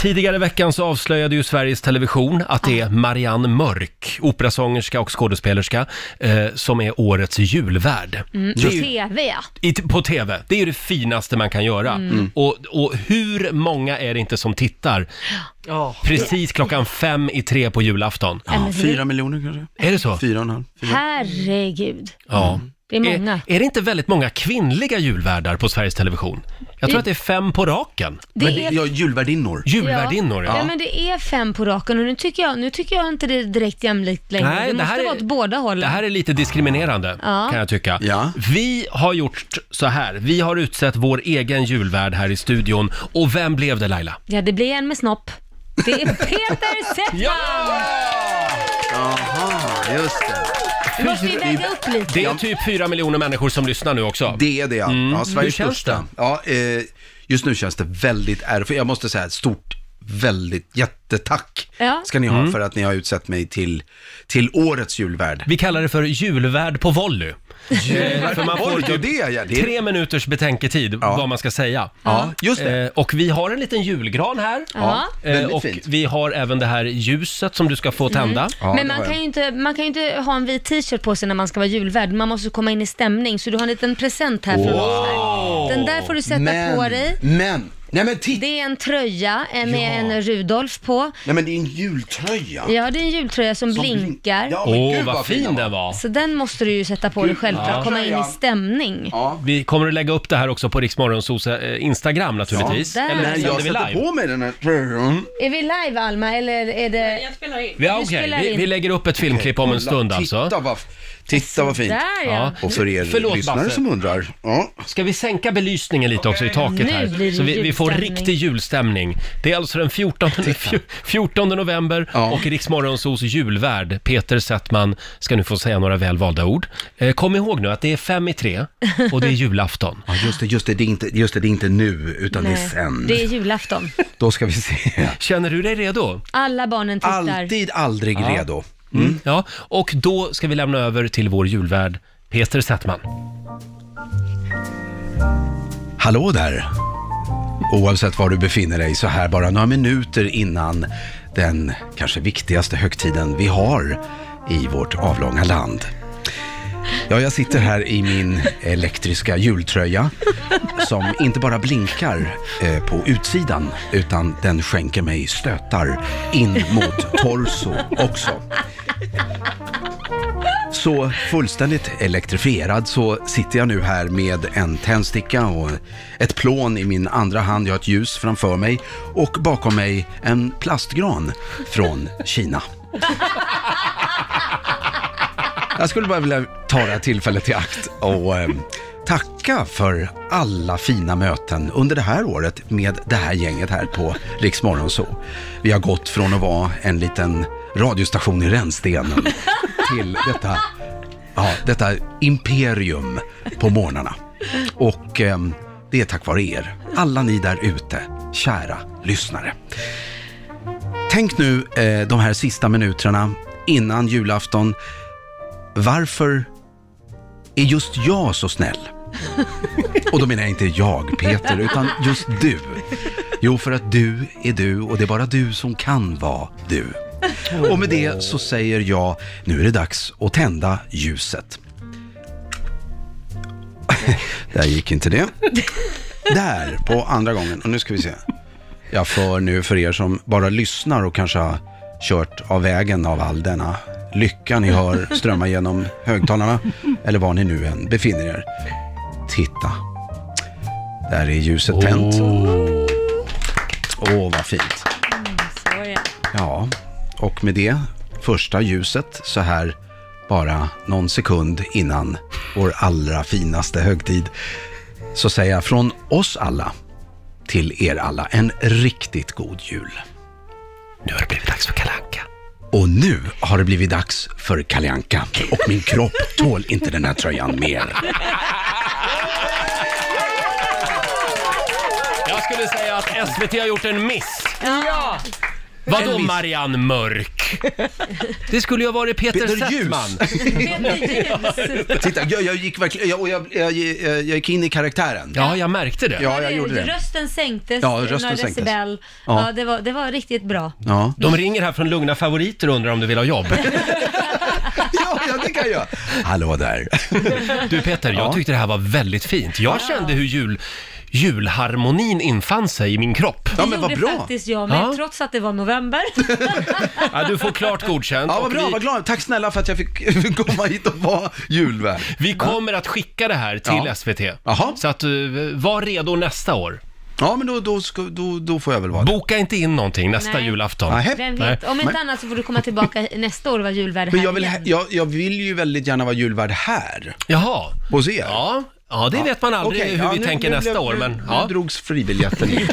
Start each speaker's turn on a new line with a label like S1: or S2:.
S1: Tidigare i veckan så avslöjade ju Sveriges Television att det är Marianne Mörk, operasångerska och skådespelerska, eh, som är årets julvärd.
S2: Mm,
S1: Det är ju-
S2: TV ja.
S1: i, på TV. Det är ju det finaste man kan göra.
S2: Mm.
S1: Och, och hur många är det inte som tittar precis klockan fem i tre på julafton?
S2: Ja, men det-
S3: Fyra miljoner kanske?
S1: Är det så?
S3: Fyra och en halv? Fyra.
S2: Herregud.
S1: Ja.
S2: Det är Mm. många.
S1: Är, är det inte väldigt många kvinnliga julvärdar på Sveriges Television? Jag tror
S2: Det-
S1: att det är fem på raken.
S2: Det
S3: Men
S2: är-
S3: det, ja, julvärdinnor.
S1: Julvärdinnor,
S2: Ja.
S1: ja.
S2: men det är fem på raken och nu tycker jag, nu tycker jag inte det är direkt jämlikt längre.
S1: Nej,
S2: det,
S1: det
S2: måste
S1: här är-
S2: vara åt båda
S1: Det
S2: hållen.
S1: här är lite diskriminerande,
S2: Ja.
S1: kan jag tycka.
S3: Ja.
S1: Vi har gjort så här. Vi har utsett vår egen julvärd här i studion. Och vem blev det, Laila?
S2: Ja, det blir en med snopp. Det är Peter Settman!
S3: Jaha, just det.
S2: Nu måste vi väga upp lite.
S1: Det är typ fyra miljoner människor som lyssnar nu också.
S3: Det är det ja. ja Sveriges
S1: Mm. Hur känns
S3: största. Ja, eh, just nu känns det väldigt ärofyllt. Jag måste säga ett stort, väldigt, jättetack
S2: Ja.
S3: ska ni ha
S1: Mm.
S3: för att ni har utsett mig till, till årets julvärd.
S1: Vi kallar det för julvärd på volley. Eh, för man får
S3: Oj, det är
S1: typ
S3: det, ja, det är-
S1: tre minuters betänketid
S3: Ja.
S1: vad man ska säga.
S3: Ja, just det.
S1: Eh, och vi har en liten julgran här.
S2: Ja.
S1: Eh,
S3: väldigt
S1: och
S3: fint. Mm.
S1: vi har även det här ljuset som du ska få tända.
S3: Ja,
S2: Men
S3: det har
S2: man kan,
S3: jag.
S2: ju inte, man kan ju inte ha en vit t-shirt på sig när man ska vara julvärd. Man måste komma in i stämning. Så du har en liten present här från oss. här. Den där får du sätta
S3: men,
S2: på dig.
S3: Men, nej men titta!
S2: Det är en tröja eh, med en Rudolf på.
S3: Nej men det är en jultröja.
S2: Ja, det är en jultröja som,
S3: Som blink-
S2: blinkar.
S3: Ja,
S1: Åh,
S3: men gud,
S1: vad fin den var!
S2: Så den måste du ju sätta på dig själv för att komma in i
S3: Ja.
S2: stämning.
S3: Ja.
S1: Vi kommer att lägga upp det här också på Riksmorgonsos eh, Instagram naturligtvis.
S2: Ja, där.
S1: Eller
S3: Nej,
S1: sänder
S3: jag
S1: vi
S3: satte
S1: live?
S3: på mig den här tröjan.
S2: Är vi live Alma eller är det...
S4: Jag spelar in.
S1: Vi, ja,
S2: Du
S1: okej.
S2: spelar
S1: vi,
S2: in.
S1: vi lägger upp ett filmklipp om en stund
S3: titta
S1: alltså.
S3: Vad, titta vad fint.
S2: Där ja.
S3: Och för er
S1: Förlåt,
S3: lyssnare
S1: Basse.
S3: som undrar. Ja.
S1: Ska vi sänka belysningen lite också i taket
S2: Nu blir
S1: här?
S2: det
S1: Så vi, vi får
S2: julstämning.
S1: riktig julstämning. Det är alltså den 14, 14 november
S3: Ja.
S1: och Riksmorgonsos julvärd Peter Settman ska nu få säga några välvalda ord. Eh, kom ihåg nu att det är fem i tre och det är julafton.
S3: Ja, just det, just det, det är inte, just det, det är inte nu, utan det är
S2: Nej,
S3: sen.
S2: det är julafton.
S3: Då ska vi se.
S1: Känner du dig redo?
S2: Alla barnen tittar.
S3: Alltid, aldrig redo.
S1: Ja, och då ska vi lämna över till vår julvärd Peter Settman.
S3: Hallå där! Oavsett var du befinner dig så här bara några minuter innan den kanske viktigaste högtiden vi har i vårt avlånga land. Ja, jag sitter här i min elektriska jultröja som inte bara blinkar eh, på utsidan utan den skänker mig stötar in mot torso också. Så fullständigt elektrifierad så sitter jag nu här med en tändsticka och ett plån i min andra hand. Jag har ett ljus framför mig och bakom mig en plastgran från Kina. Jag skulle bara vilja ta det här tillfället i akt och eh, tacka för alla fina möten under det här året med det här gänget här på Rix Morgonzoo. Vi har gått från att vara en liten radiostation i rännstenen till detta, ja, detta imperium på morgnarna. Och eh, det är tack vare er, alla ni där ute, kära lyssnare. Tänk nu eh, de här sista minuterna innan julafton varför är just jag så snäll? Och då menar jag inte jag, Peter, utan just du. Jo, för att du är du och det är bara du som kan vara du. Och med det så säger jag, nu är det dags att tända ljuset. Där gick inte det. Där, på andra gången. Och nu ska vi se. Jag för nu för er som bara lyssnar och kanske har kört av vägen av all denna lycka ni hör strömma genom högtalarna, eller var ni nu än befinner er. Titta. Där är ljuset tänt. Åh, vad fint.
S2: Så, ja.
S3: Ja, och med det första ljuset så här bara någon sekund innan vår allra finaste högtid så säger jag från oss alla till er alla en riktigt god jul.
S1: Nu har det blivit dags för Kalanka.
S3: Och nu har det blivit dags för Kalle Anka och min kropp tål inte den här tröjan mer.
S1: Jag skulle säga att SVT har gjort en miss.
S2: Ja.
S1: Vadå Marianne Mörk? Det skulle ju ha varit Peter,
S3: Peter Ljus.
S1: Settman.
S3: Titta, jag, jag gick verkligen, jag, och jag, jag, jag gick in i karaktären.
S1: Ja, jag märkte det.
S3: Ja, jag gjorde det.
S2: Rösten sänktes
S3: Ja, rösten
S2: några
S3: sänktes.
S2: decibel.
S3: Ja.
S2: Ja. det, var, det var riktigt bra.
S3: Ja,
S1: De ringer här från Lugna Favoriter och undrar om du vill ha jobb.
S3: ja, ja det kan jag. Hallå där.
S1: Du Peter, jag
S3: Ja.
S1: tyckte det här var väldigt fint. Jag kände hur jul, julharmonin infann sig i min kropp.
S3: Ja,
S2: det
S3: men vad
S2: gjorde
S3: bra.
S2: faktiskt jag med,
S1: Ja.
S2: trots att det var november.
S1: Ja, du får klart godkänt.
S3: Ja, vad
S1: Och
S3: bra,
S1: vi,
S3: vad glad. Tack snälla för att jag fick fick komma hit och vara julvärd.
S1: vi kommer att skicka det här till
S3: Ja.
S1: SVT.
S3: Jaha.
S1: Så att eh, var redo nästa år.
S3: Ja, men då, då, ska, då, då får jag väl vara det.
S1: Boka inte in någonting nästa
S2: Nej.
S1: julafton.
S3: Nej.
S2: Vem vet, om inte
S3: Men-
S2: annat så får du komma tillbaka nästa år och vara julvärd här
S3: Men jag vill,
S2: igen.
S3: he- jag, jag vill ju väldigt gärna vara julvärd här,
S1: Jaha.
S3: hos er.
S1: Ja, ja det vet man aldrig
S3: Okej,
S1: hur
S3: ja,
S1: vi
S3: nu-
S1: tänker
S3: nu
S1: nästa
S3: blev-
S1: år.
S3: nu,
S1: Men,
S3: nu
S1: ja.
S3: drogs fribiljetten in.